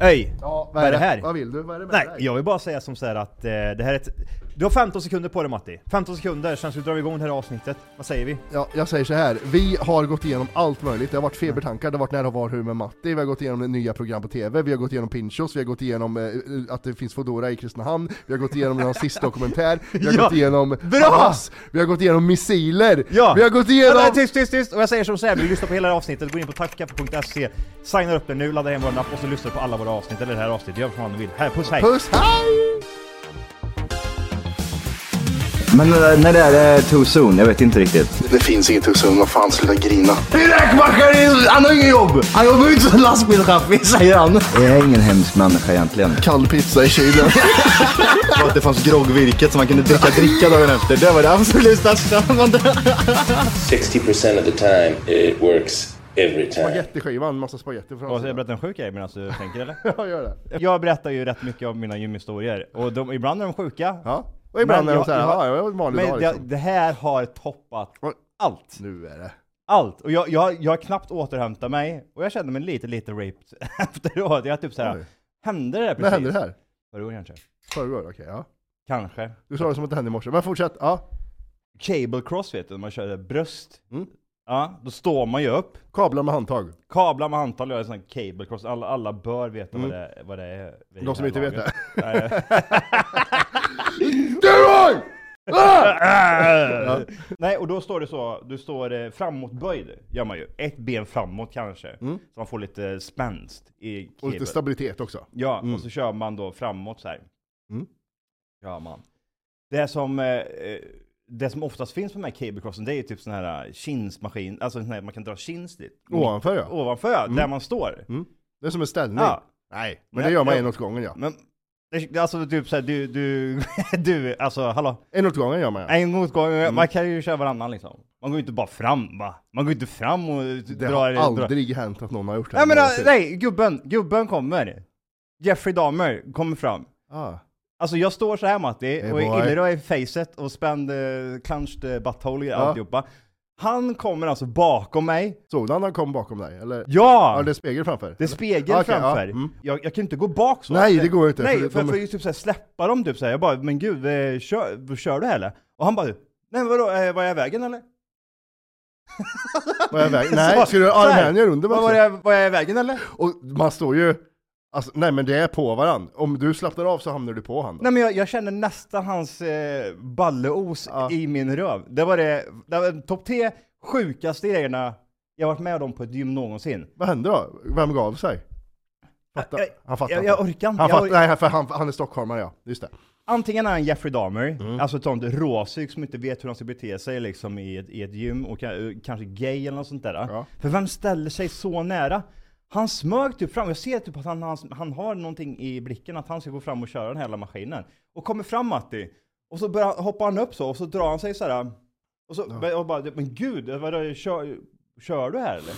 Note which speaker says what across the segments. Speaker 1: Öj!
Speaker 2: Ja,
Speaker 1: Vad är det här?
Speaker 2: Vad vill du? Vad är det med
Speaker 1: Nej,
Speaker 2: dig?
Speaker 1: jag vill bara säga som så här att eh, det här är ett... Du har 15 sekunder på dig Matti. 15 sekunder, sen så drar vi igång det här avsnittet. Vad säger vi?
Speaker 2: Ja, jag säger så här. vi har gått igenom allt möjligt. Det har varit febertankar, det har varit när och var hur med Matti, vi har gått igenom nya program på TV, vi har gått igenom Pinchos, vi har gått igenom eh, att det finns Foodora i Kristinehamn, vi har gått igenom nazist dokumentär, vi har
Speaker 1: Ja.
Speaker 2: gått igenom Hamas, vi har gått igenom missiler,
Speaker 1: Ja!
Speaker 2: vi har gått igenom...
Speaker 1: Nej, tyst, tyst, tyst! Och jag säger som så här, vill du lyssna på hela det här avsnittet, gå in på tackkaffe.se, signa upp dig nu, ladda hem vår app och så lyssnar du på alla våra avsnitt, eller det här avsnittet, gör vad fan du vill. Här, puss, hej!
Speaker 2: Puss, hej!
Speaker 3: Men eh, när det är eh, too soon? Jag vet inte riktigt.
Speaker 4: Det finns inget husum, vad fan sluta grina.
Speaker 3: Räkmackaren, han har inget jobb! Han jobbar ju inte som lastbilschaffis, säger han. Jag är ingen hemsk människa egentligen.
Speaker 4: Kall pizza i kylen.
Speaker 3: Och att det fanns groggvirket som man kunde dricka dricka dagen efter. Det var det absolut största.
Speaker 5: 60% of the time, it works every time.
Speaker 2: Spagettiskiva, en massa spagetti från
Speaker 1: Och så jag berättar en sjuk grej medan du tänker eller?
Speaker 2: Ja, gör det.
Speaker 1: Jag berättar ju rätt mycket av mina gymhistorier, och de, ibland är de sjuka.
Speaker 2: Ja. Och ibland
Speaker 1: Men
Speaker 2: är de
Speaker 1: jag-
Speaker 2: såhär,
Speaker 1: jag-
Speaker 2: ja, jag var en vanlig
Speaker 1: Men
Speaker 2: dag
Speaker 1: det,
Speaker 2: liksom.
Speaker 1: det här har toppat
Speaker 2: Oj.
Speaker 1: allt.
Speaker 2: Nu är det.
Speaker 1: Allt! Och jag, jag, jag har knappt återhämtat mig, och jag kände mig lite, lite raped efteråt. Jag är typ såhär,
Speaker 2: Oj.
Speaker 1: hände det där precis?
Speaker 2: När hände det här?
Speaker 1: Förra året kanske.
Speaker 2: Förrgår? Okej, ja.
Speaker 1: Kanske.
Speaker 2: Du sa det som att det hände i morse, men fortsätt. Ja.
Speaker 1: Cable cross vet du, när man körde bröst.
Speaker 2: Mm.
Speaker 1: Ja, då står man ju upp.
Speaker 2: Kablar med handtag.
Speaker 1: Kablar med handtal gör en sån här cable cross. Alla, alla bör veta vad, det, vad det är. vid
Speaker 2: Mm. De som
Speaker 1: här
Speaker 2: inte vet
Speaker 1: laget.
Speaker 2: Gurra!
Speaker 1: Nej. Nej, och då står det så. Du står eh, framåtböjd, gör man ju. Ett ben framåt kanske. Så man får lite spänst i
Speaker 2: Mm. Och lite
Speaker 1: cable.
Speaker 2: stabilitet också.
Speaker 1: Ja, och så kör man då framåt så här.
Speaker 2: Mm.
Speaker 1: Kör man. Det som, eh, eh, det som oftast finns på de här cablecrossen, det är ju typ sån här kinsmaskin, alltså sån här, man kan dra kins dit.
Speaker 2: Ovanför ja.
Speaker 1: Ovanför, där man står.
Speaker 2: Det är som en ställning.
Speaker 1: Ja,
Speaker 2: Mm. Nej, men
Speaker 1: Nej,
Speaker 2: det gör man
Speaker 1: ja.
Speaker 2: en åt gången ja.
Speaker 1: men det- alltså typ såhär, du, du, du, alltså hallå.
Speaker 2: En åt gången gör man ja. Mm.
Speaker 1: En motgång, man kan ju köra varannan liksom. Man går ju inte bara fram va? Man går ju inte fram och
Speaker 2: Det
Speaker 1: drar...
Speaker 2: har
Speaker 1: drar-
Speaker 2: aldrig hänt att någon har gjort det.
Speaker 1: Nej men
Speaker 2: någonsin.
Speaker 1: äh, nej, gubben, gubben kommer. Jeffrey Dahmer kommer fram.
Speaker 2: Ah.
Speaker 1: Alltså jag står så här Matti,
Speaker 2: Hey,
Speaker 1: och är
Speaker 2: boy.
Speaker 1: illröd i facet och spänd uh, clenched eh, butthole i
Speaker 2: Ja.
Speaker 1: alltihopa. Han kommer alltså bakom mig.
Speaker 2: Såg du när han kom bakom dig? Eller?
Speaker 1: Ja!
Speaker 2: Ja, det
Speaker 1: det...
Speaker 2: är spegel framför.
Speaker 1: är spegel
Speaker 2: Okej,
Speaker 1: framför.
Speaker 2: ja, mm.
Speaker 1: jag, jag kan inte gå bak så. Alltså,
Speaker 2: Nej, det går inte,
Speaker 1: Nej,
Speaker 2: för
Speaker 1: för,
Speaker 2: det-
Speaker 1: för,
Speaker 2: de-
Speaker 1: jag får ju typ så här släppa dem typ så här. Jag bara, men gud, eh, kör, kör du här eller? Och han bara, nej men vadå, eh, var jag i vägen eller?
Speaker 2: Var jag i vägen? Nej,
Speaker 1: Så-
Speaker 2: skulle du
Speaker 1: så här.
Speaker 2: armhävningar under mig
Speaker 1: Var, var,
Speaker 2: också?
Speaker 1: jag, var jag i vägen eller?
Speaker 2: Och man står ju... Alltså, nej men det är på varann. Om du slappnar av så hamnar du på han.
Speaker 1: Nej men jag, jag känner nästan hans eh, balleos
Speaker 2: Ja.
Speaker 1: i min röv. Det var det, det var topp tre sjukaste grejerna jag varit med om på ett gym någonsin.
Speaker 2: Vad hände då? Vem gav sig? Fattar.
Speaker 1: Jag-
Speaker 2: Han fattar
Speaker 1: Äh, jag,
Speaker 2: inte.
Speaker 1: jag orkar inte. Jag
Speaker 2: Han fattar,
Speaker 1: or-
Speaker 2: nej för han, han är stockholmare ja, just det.
Speaker 1: Antingen är han Jeffrey Dahmer, alltså ett sånt råsug som inte vet hur han ska bete sig liksom i ett, i ett gym, och ka- eh, kanske gay eller något sånt där.
Speaker 2: Ja.
Speaker 1: För vem ställer sig så nära? Han smög typ fram, jag ser typ att han, han, han har någonting i blicken, att han ska gå fram och köra den här jävla maskinen. Och kommer fram Matti, och så börjar, hoppar han upp så, och så drar han sig såhär. Och så och bara, men gud, vadå, kör, kör du här eller?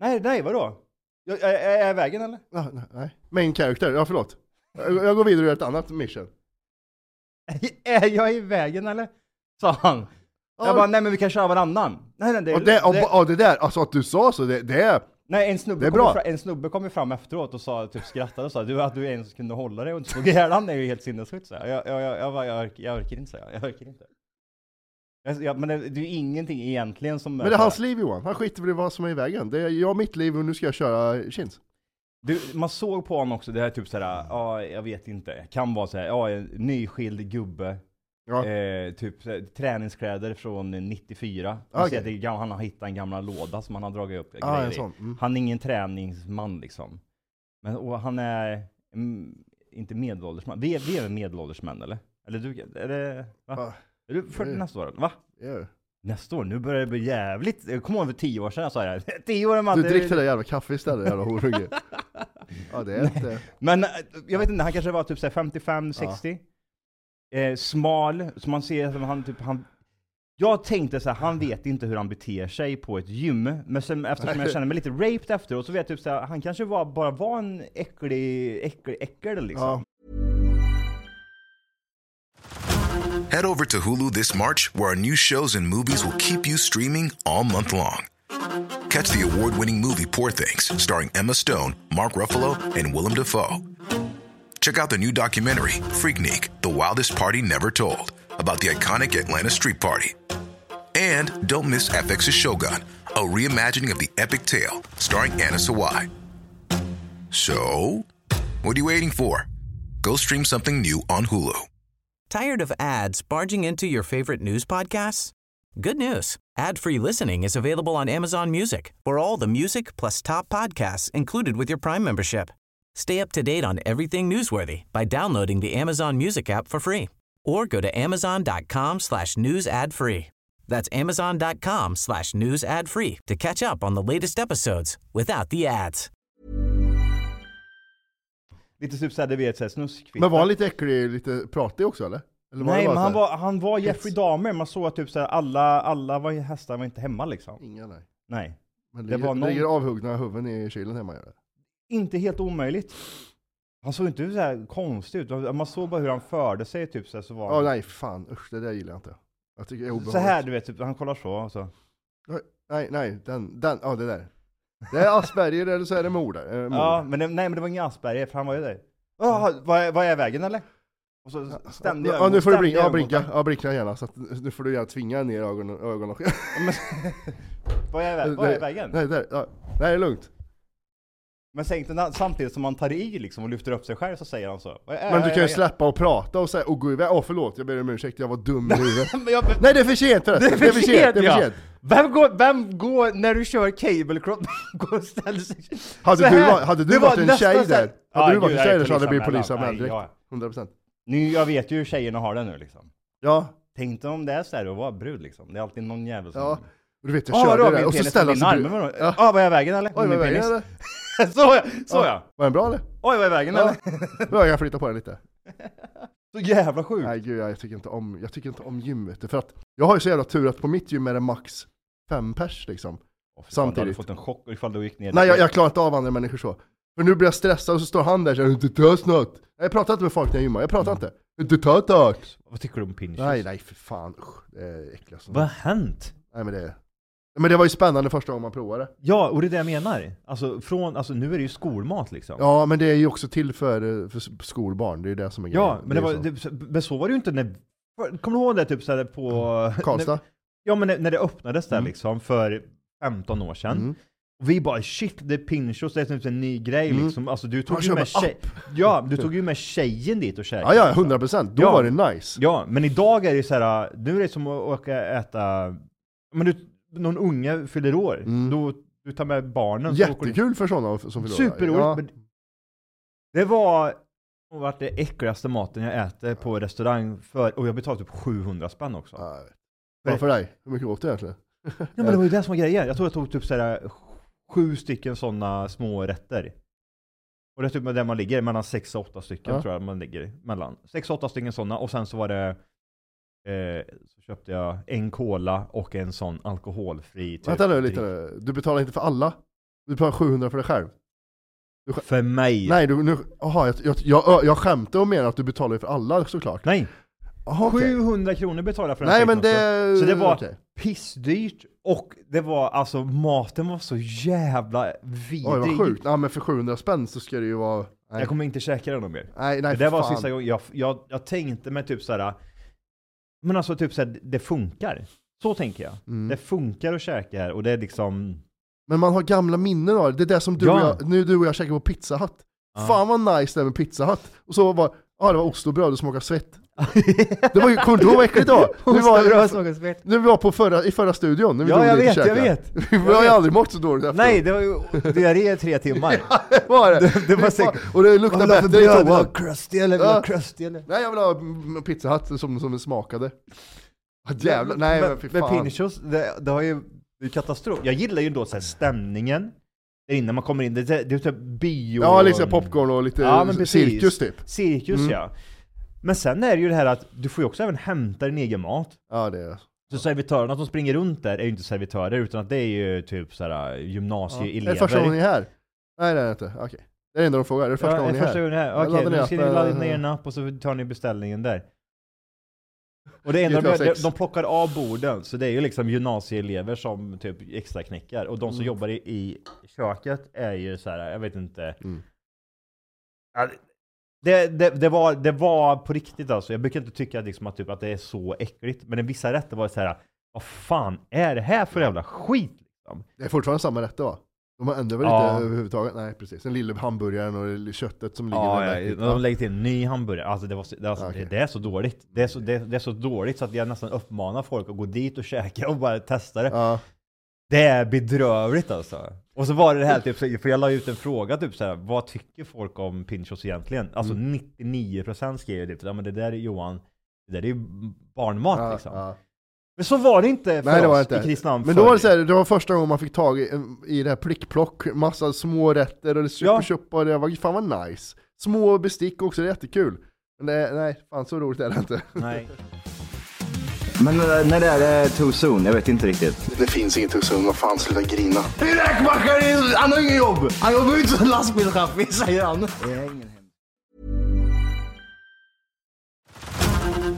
Speaker 1: Nej, nej, vadå? Jag, är, är jag i vägen eller?
Speaker 2: Ja, nej, Ah, nej. Main character, ja förlåt. Jag, jag går vidare och gör ett annat mission.
Speaker 1: Är jag i vägen eller? Sa han.
Speaker 2: Ja.
Speaker 1: Jag bara, nej men vi kan köra varannan. Nej, nej, det,
Speaker 2: Och det, och,
Speaker 1: det,
Speaker 2: och det där, alltså att du sa så, det, det är...
Speaker 1: nej en, snubbe
Speaker 2: det är
Speaker 1: kom ju
Speaker 2: bra.
Speaker 1: Fram, en snubbe kom ju fram efteråt och sa, typ skrattade och sa du, att du är en som kunde hålla dig och inte slog ihjäl han är ju helt sinnessjukt. så här. Jag, jag, jag, jag, bara, jag, orkar, jag orkar inte säga, jag orkar inte. Jag, jag, men det, det är ju ingenting egentligen som...
Speaker 2: Men det är hans liv Johan, han skiter väl i vad som är i vägen. Det är jag och mitt liv och nu ska jag köra chins.
Speaker 1: Du, man såg på honom också, det här typ såhär, ja jag vet inte, kan vara såhär, ja en nyskild gubbe,
Speaker 2: Ja.
Speaker 1: eh, typ så här, träningskläder från 94. Man
Speaker 2: Ah, Okej.
Speaker 1: ser att det är gam- han har hittat en gammal låda som han har dragit upp
Speaker 2: Ah,
Speaker 1: grejer
Speaker 2: en
Speaker 1: i.
Speaker 2: sån. Mm.
Speaker 1: Han är ingen träningsman liksom. Men, och han är mm, inte medelålders man. Vi är, vi är väl medelålders män eller? Eller du, är det, va?
Speaker 2: Ja.
Speaker 1: Är du 40
Speaker 2: Mm.
Speaker 1: nästa år? Va?
Speaker 2: Ja.
Speaker 1: Nästa år? Nu börjar det bli eh, jävligt... Jag kommer ihåg för tio år sedan jag sa det här. Tio år man.
Speaker 2: Du drick till det jävla kaffe istället jävla horunge. Ja, det är inte...
Speaker 1: Men eh, jag vet inte, han kanske var typ 55-60. Eh, smal, så man ser att han typ, han... Jag tänkte så här, han vet inte hur han beter sig på ett gym. Men sen, eftersom jag känner mig lite raped efteråt så vet jag typ så här, han kanske var, bara var en äcklig, äcklig, äckel liksom.
Speaker 2: Ja.
Speaker 6: Head over to Hulu this March, where our new shows and movies will keep you streaming all month long. Catch the award winning movie Poor Things, starring Emma Stone, Mark Ruffalo, and Willem Dafoe. Check out the new documentary, Freaknik The Wildest Party Never Told, about the iconic Atlanta Street Party. And don't miss FX's Shogun, a reimagining of the epic tale, starring Anna Sawai. So, what are you waiting for? Go stream something new on Hulu.
Speaker 7: Tired of ads barging into your favorite news podcasts? Good news. Ad-free listening is available on Amazon Music. For all the music plus top podcasts included with your Prime membership. Stay up to date on everything newsworthy by downloading the Amazon Music app for free or go to amazon.com slash news ad free. That's amazon.com slash news ad free to catch up on the latest episodes without the ads.
Speaker 1: Lite typ såhär, du vet såhär snuskfitta.
Speaker 2: Men var han lite äcklig, lite pratig också eller? eller var
Speaker 1: Nej
Speaker 2: det bara
Speaker 1: men
Speaker 2: så
Speaker 1: han
Speaker 2: här-
Speaker 1: var, han var Jeffrey Dahmer, man såg att typ såhär, alla, alla var, hästar var inte hemma liksom.
Speaker 2: Inga nej.
Speaker 1: Nej.
Speaker 2: Men
Speaker 1: Det
Speaker 2: ligger,
Speaker 1: var någon-
Speaker 2: ligger avhuggna huvuden i kylen hemma gör det.
Speaker 1: inte helt omöjligt. Han såg inte så här konstig ut, man man såg bara hur han förde sig typ så, här, så var
Speaker 2: Ja
Speaker 1: han,
Speaker 2: nej fan, usch det där gillar jag inte. Jag tycker det är obehagligt.
Speaker 1: så här du vet, typ, han kollar så och
Speaker 2: Mm.
Speaker 1: så.
Speaker 2: Nej, nej, den, den, ja det där. Det är Asperger eller så är det mord. Eh, mord.
Speaker 1: Ja, men det, nej men det var ingen Asperger, för han var ju där. Jaha, vad är, vad är vägen eller? Och så ständig
Speaker 2: Mm. Ja, nu får du
Speaker 1: ständig
Speaker 2: blinka, ja,
Speaker 1: ögonkontakt.
Speaker 2: blinka, ja, blinka gärna. Så att, nu får du gärna tvinga ner ögonen. ögonen.
Speaker 1: Vad är, vä- vad är vägen?
Speaker 2: Nej, där, ja. nej, det är lugnt.
Speaker 1: Men sänk den, samtidigt som han tar i liksom och lyfter upp sig själv så säger han så. Vad är,
Speaker 2: Men du
Speaker 1: vad är
Speaker 2: kan ju
Speaker 1: vägen?
Speaker 2: släppa och prata och säga, och gå iväg. Åh förlåt, jag ber om ursäkt, jag var dum i huvudet.
Speaker 1: Men jag,
Speaker 2: Nej det är för sent förresten, det är för sent, det är för sent.
Speaker 1: Vem går, vem går när du kör cable cross, går och ställer sig
Speaker 2: Hade
Speaker 1: så
Speaker 2: du,
Speaker 1: här?
Speaker 2: va- hade
Speaker 1: Det
Speaker 2: du
Speaker 1: var
Speaker 2: varit en
Speaker 1: nästan
Speaker 2: tjej
Speaker 1: så här-
Speaker 2: där, hade
Speaker 1: Ja,
Speaker 2: du
Speaker 1: gud,
Speaker 2: varit en
Speaker 1: jag är
Speaker 2: tjej där så hade det blivit
Speaker 1: polisanmälan.
Speaker 2: polisanmäld
Speaker 1: Nej,
Speaker 2: direkt.
Speaker 1: ja.
Speaker 2: 100%.
Speaker 1: Nu, jag vet ju hur tjejerna har det nu liksom.
Speaker 2: Ja,
Speaker 1: Tänk dig om det är så här att vara brud liksom. Det är alltid någon jävel som...
Speaker 2: ja. Och Du vet jag
Speaker 1: Ah, vadå,
Speaker 2: körde det
Speaker 1: min
Speaker 2: där och så
Speaker 1: penis på
Speaker 2: ställer
Speaker 1: din
Speaker 2: sig
Speaker 1: arm, vadå?
Speaker 2: Ja.
Speaker 1: Ah, vad är vägen eller?
Speaker 2: Oj,
Speaker 1: Min
Speaker 2: vad är
Speaker 1: penis.
Speaker 2: vägen eller?
Speaker 1: så ja, så ja.
Speaker 2: Var den bra eller?
Speaker 1: Oj, vad är vägen
Speaker 2: Ja.
Speaker 1: eller?
Speaker 2: Nu har jag flyttat på den lite.
Speaker 1: Så jävla sjukt.
Speaker 2: Nej gud, jag tycker inte om, jag tycker inte om gym vet du. För att jag har ju så jävla tur att på mitt gym är det max fem pers liksom.
Speaker 1: Åh, fy fan, Du hade
Speaker 2: samtidigt.
Speaker 1: fått en chock ifall du gick ner.
Speaker 2: Nej jag, jag klarar inte av andra människor så. För nu blir jag stressad och så står han där och säger inte ta snart. Nej, Jag pratar inte med folk när jag gymmar, jag pratar inte. Inte ta snart.
Speaker 1: Vad tycker du om pinchers?
Speaker 2: Nej nej för fan, usch. Det är äckligast. som-
Speaker 8: Vad har hänt?
Speaker 2: Nej men det Men det var ju spännande första gången man provade.
Speaker 8: Ja, och det är det jag menar. Alltså, från, alltså nu är det ju skolmat liksom.
Speaker 2: Ja men det är ju också till för, eh, för s- skolbarn, det är ju det som är
Speaker 8: Ja,
Speaker 2: grejen.
Speaker 8: men, det var,
Speaker 2: är ju så.
Speaker 8: det, men så var det ju inte när... Kommer du ihåg det typ såhär på...
Speaker 2: Karlstad?
Speaker 8: Ja men när, när det öppnades där
Speaker 2: Mm.
Speaker 8: liksom för 15 år sedan.
Speaker 2: Mm.
Speaker 8: Och vi bara shit, det är Pinchos, det är typ en ny grej
Speaker 2: Mm.
Speaker 8: liksom. Alltså du
Speaker 2: Man
Speaker 8: tog, ju
Speaker 2: kör
Speaker 8: med
Speaker 2: med
Speaker 8: tjej... ja, du tog ju med tjejen dit och käkade.
Speaker 2: Ja ja, 100 procent. Då
Speaker 8: Ja.
Speaker 2: var det nice.
Speaker 8: Ja, men idag är det så här, nu är det som att åka och äta, men du, någon unge fyller år,
Speaker 2: Mm.
Speaker 8: då du tar med barnen. så åker du-
Speaker 2: Jättekul för sådana som förlorar.
Speaker 8: Superroligt!
Speaker 2: Ja.
Speaker 8: men Det var det var det äckligaste maten jag äter på restaurang för, och jag betalade typ 700 spänn också.
Speaker 2: Ja, jag vet. Vad för dig? Hur mycket åt
Speaker 8: Typ
Speaker 2: du egentligen?
Speaker 8: Ja, men det var
Speaker 2: Eh.
Speaker 8: ju det som var grejen. Jag tror jag tog typ såhär, sju stycken sådana små rätter. Och det är typ där man ligger, mellan sex och åtta stycken
Speaker 2: Ja.
Speaker 8: tror jag man ligger mellan. Sex och åtta stycken sådana och sen så var det eh, så köpte jag en cola och en sån alkoholfri typ,
Speaker 2: Vänta nu lite
Speaker 8: drink.
Speaker 2: nu. Du betalar inte för alla? Du betalar 700 för dig själv?
Speaker 8: För mig!
Speaker 2: Nej, du, nu, aha, jag, jag, jag, jag skämtade och menar att du betalar ju för alla såklart.
Speaker 8: Nej.
Speaker 2: Aha, okej.
Speaker 8: 700 kronor betalade jag för den
Speaker 2: Nej
Speaker 8: skiten
Speaker 2: men det...
Speaker 8: Så det var-
Speaker 2: okej.
Speaker 8: pissdyrt och det var alltså maten var så jävla vidrig.
Speaker 2: Oj vad sjukt. Ja men för 700 spänn så ska det ju vara... Nej,
Speaker 8: Jag kommer inte käka den någon mer.
Speaker 2: nej, nej
Speaker 8: det där
Speaker 2: fan.
Speaker 8: var sista gången jag, jag, jag tänkte mig typ såhär, men alltså typ såhär, det funkar. Så tänker jag.
Speaker 2: Mm.
Speaker 8: Det funkar att käka här och det är liksom...
Speaker 2: Men man har gamla minnen av det. Det är det som du
Speaker 8: Ja.
Speaker 2: och jag, nu du och jag käkar på Pizza Hut.
Speaker 8: Ja.
Speaker 2: Fan vad nice det är med Pizza Hut. Och så var ja det var ost och bröd och smakade svett. Det var ju, kommer du ihåg vad äckligt det var? Vi var,
Speaker 8: var...
Speaker 2: när vi var på förra, i förra studion, när vi
Speaker 8: Ja,
Speaker 2: drog
Speaker 8: jag
Speaker 2: dit och
Speaker 8: vet, jag
Speaker 2: käkade.
Speaker 8: vet.
Speaker 2: Vi
Speaker 8: Jag
Speaker 2: har ju
Speaker 8: vet.
Speaker 2: aldrig mått så dåligt efteråt.
Speaker 8: Nej, det var ju diarré i tre timmar.
Speaker 2: Det var det.
Speaker 8: Det- det var säkert-
Speaker 2: Och det
Speaker 8: Vad
Speaker 2: luktade
Speaker 8: vill du ha för bröd?
Speaker 2: bättre i
Speaker 8: Vill du ha
Speaker 2: toan.
Speaker 8: crusty eller vill du ha crusty eller?
Speaker 2: Nej jag vill ha mm, Pizza Hut som, som den smakade. Ah, Jävlar, nej men fy
Speaker 8: Men
Speaker 2: fan.
Speaker 8: Pinchos, det, det har ju det är ju katastrof. Jag gillar ju då så här stämningen.
Speaker 1: Där innan man kommer in, det är, det är typ bio...
Speaker 2: Ja, liksom popcorn och lite
Speaker 1: Ja, men precis.
Speaker 2: cirkus typ.
Speaker 1: Cirkus
Speaker 2: Mm.
Speaker 1: ja. Men sen är det ju det här att du får ju också även hämta din egen mat.
Speaker 2: Ja, det är
Speaker 1: Så servitörerna som springer runt där är ju inte servitörer utan att det är ju typ såhär
Speaker 2: Är det
Speaker 1: gymnasieelever.
Speaker 2: första gången ni är här? Nej, det är det inte. Okej. Det är det enda de frågar. Är det första
Speaker 1: ja,
Speaker 2: gången ni är
Speaker 1: första
Speaker 2: här?
Speaker 1: gången ni är här.
Speaker 2: Jag
Speaker 1: Okej,
Speaker 2: laddar ner
Speaker 1: nu ska ni
Speaker 2: appen.
Speaker 1: ladda ner en app och så tar ni beställningen där. Och det enda de,
Speaker 2: GTA
Speaker 1: gör, de,
Speaker 2: sex.
Speaker 1: de plockar av borden, så det är ju liksom gymnasieelever som typ extra knäckar. Och de
Speaker 2: Mm.
Speaker 1: som jobbar i, i köket är ju så här, jag vet inte.
Speaker 2: Mm.
Speaker 1: Ja, Det, det, det, var, det var på riktigt alltså. Jag brukar inte tycka liksom att, typ, att det är så äckligt. Men i vissa rätter var det så här, vad fan är det här för jävla skit? Liksom?
Speaker 2: Det är fortfarande samma rätter va? De har ändrat väl
Speaker 1: Ja.
Speaker 2: inte överhuvudtaget? Nej, precis. Den lilla hamburgaren och det köttet som ligger
Speaker 1: Ja,
Speaker 2: där
Speaker 1: ja,
Speaker 2: märkligt.
Speaker 1: ja, de lägger till en ny hamburgare. Alltså det, var, så- det, alltså,
Speaker 2: Ja, typ, okej.
Speaker 1: det, det är så dåligt. Det är så, det, det är så dåligt så att jag nästan uppmanar folk att gå dit och käka och bara testa det.
Speaker 2: Ja.
Speaker 1: Det är bedrövligt alltså. Och så var det det här, typ, så- för jag la ut en fråga typ så här, vad tycker folk om Pinchos egentligen? Alltså
Speaker 2: Mm.
Speaker 1: 99% skrev ju typ, ja men det där är Johan, det där är ju barnmat
Speaker 2: Ja,
Speaker 1: liksom.
Speaker 2: ja.
Speaker 1: Men så var det inte för
Speaker 2: Nej, det
Speaker 1: oss
Speaker 2: var inte.
Speaker 1: i Kristinehamn
Speaker 2: Men då
Speaker 1: förr.
Speaker 2: var det, så här, det var första gången man fick tag i, eh, i det här plickplock, massa små rätter och det
Speaker 1: Ja.
Speaker 2: super ja. och det var fan vad nice. Små bestick också, det är jättekul. Men det, nej, fan så roligt är det inte.
Speaker 1: Nej.
Speaker 3: Men eh, när det är eh, too soon, jag vet inte riktigt.
Speaker 4: Det finns inget hos honom, vad fan sluta grina.
Speaker 3: Räkmackaren, han har inget jobb! Han jobbar ut som lastbilschaffis, säger han.